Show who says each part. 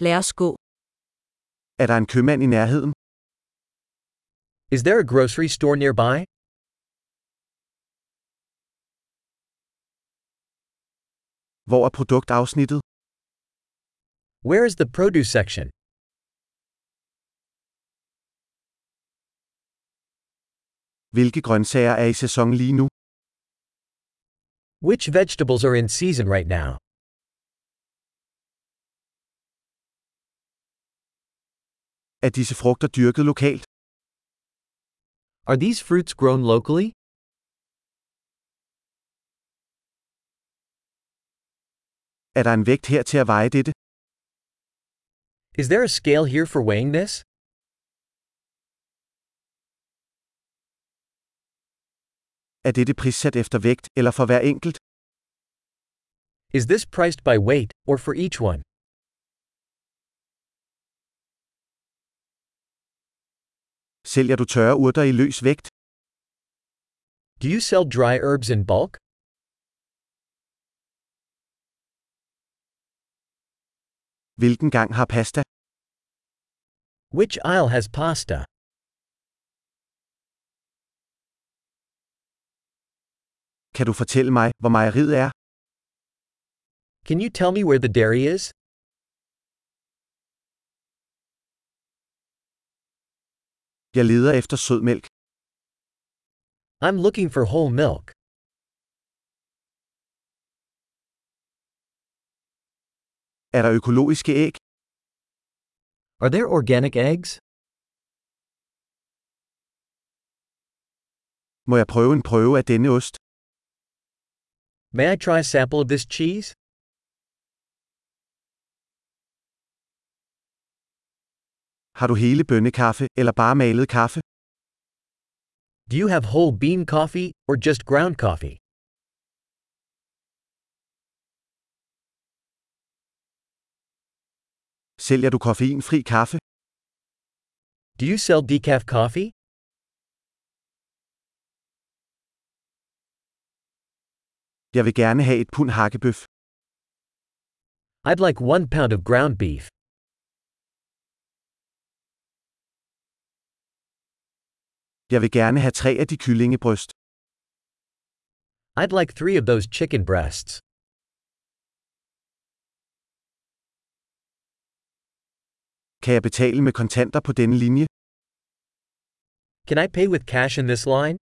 Speaker 1: Lad os gå.
Speaker 2: Er der en købmand i nærheden?
Speaker 3: Is there a grocery store nearby?
Speaker 2: Hvor er produktafsnittet?
Speaker 3: Where is the produce section?
Speaker 2: Hvilke grøntsager er i sæson lige nu?
Speaker 3: Which vegetables are in season right now?
Speaker 2: Er disse frugter dyrket lokalt?
Speaker 3: Are these fruits grown locally?
Speaker 2: Er der en vægt her til at veje dette?
Speaker 3: Is there a scale here for weighing this?
Speaker 2: Er dette prissat efter vægt eller for hver enkelt?
Speaker 3: Is this priced by weight, or for each one?
Speaker 2: Sælger du tørre urter i løs vægt?
Speaker 3: Do you sell dry herbs in bulk?
Speaker 2: Hvilken gang har pasta?
Speaker 3: Which aisle has pasta?
Speaker 2: Kan du fortælle mig, hvor mejeriet er?
Speaker 3: Can you tell me where the dairy is?
Speaker 2: Jeg leder efter sødmælk.
Speaker 3: I'm looking for whole milk.
Speaker 2: Er der økologiske æg?
Speaker 3: Are there organic eggs?
Speaker 2: Må jeg prøve en prøve af denne ost?
Speaker 3: May I try a sample of this cheese?
Speaker 2: Har du hele bønnekaffe eller bare malet kaffe?
Speaker 3: Do you have whole bean coffee, or just ground coffee?
Speaker 2: Sælger du koffeinfri kaffe?
Speaker 3: Do you sell decaf coffee?
Speaker 2: Jeg vil gerne have et pund hakkebøf.
Speaker 3: I'd like one pound of ground beef.
Speaker 2: Jeg vil gerne have tre af de kyllingebryst.
Speaker 3: I'd like three of those chicken breasts.
Speaker 2: Kan jeg betale med kontanter på denne linje?
Speaker 3: Can I pay with cash in this line?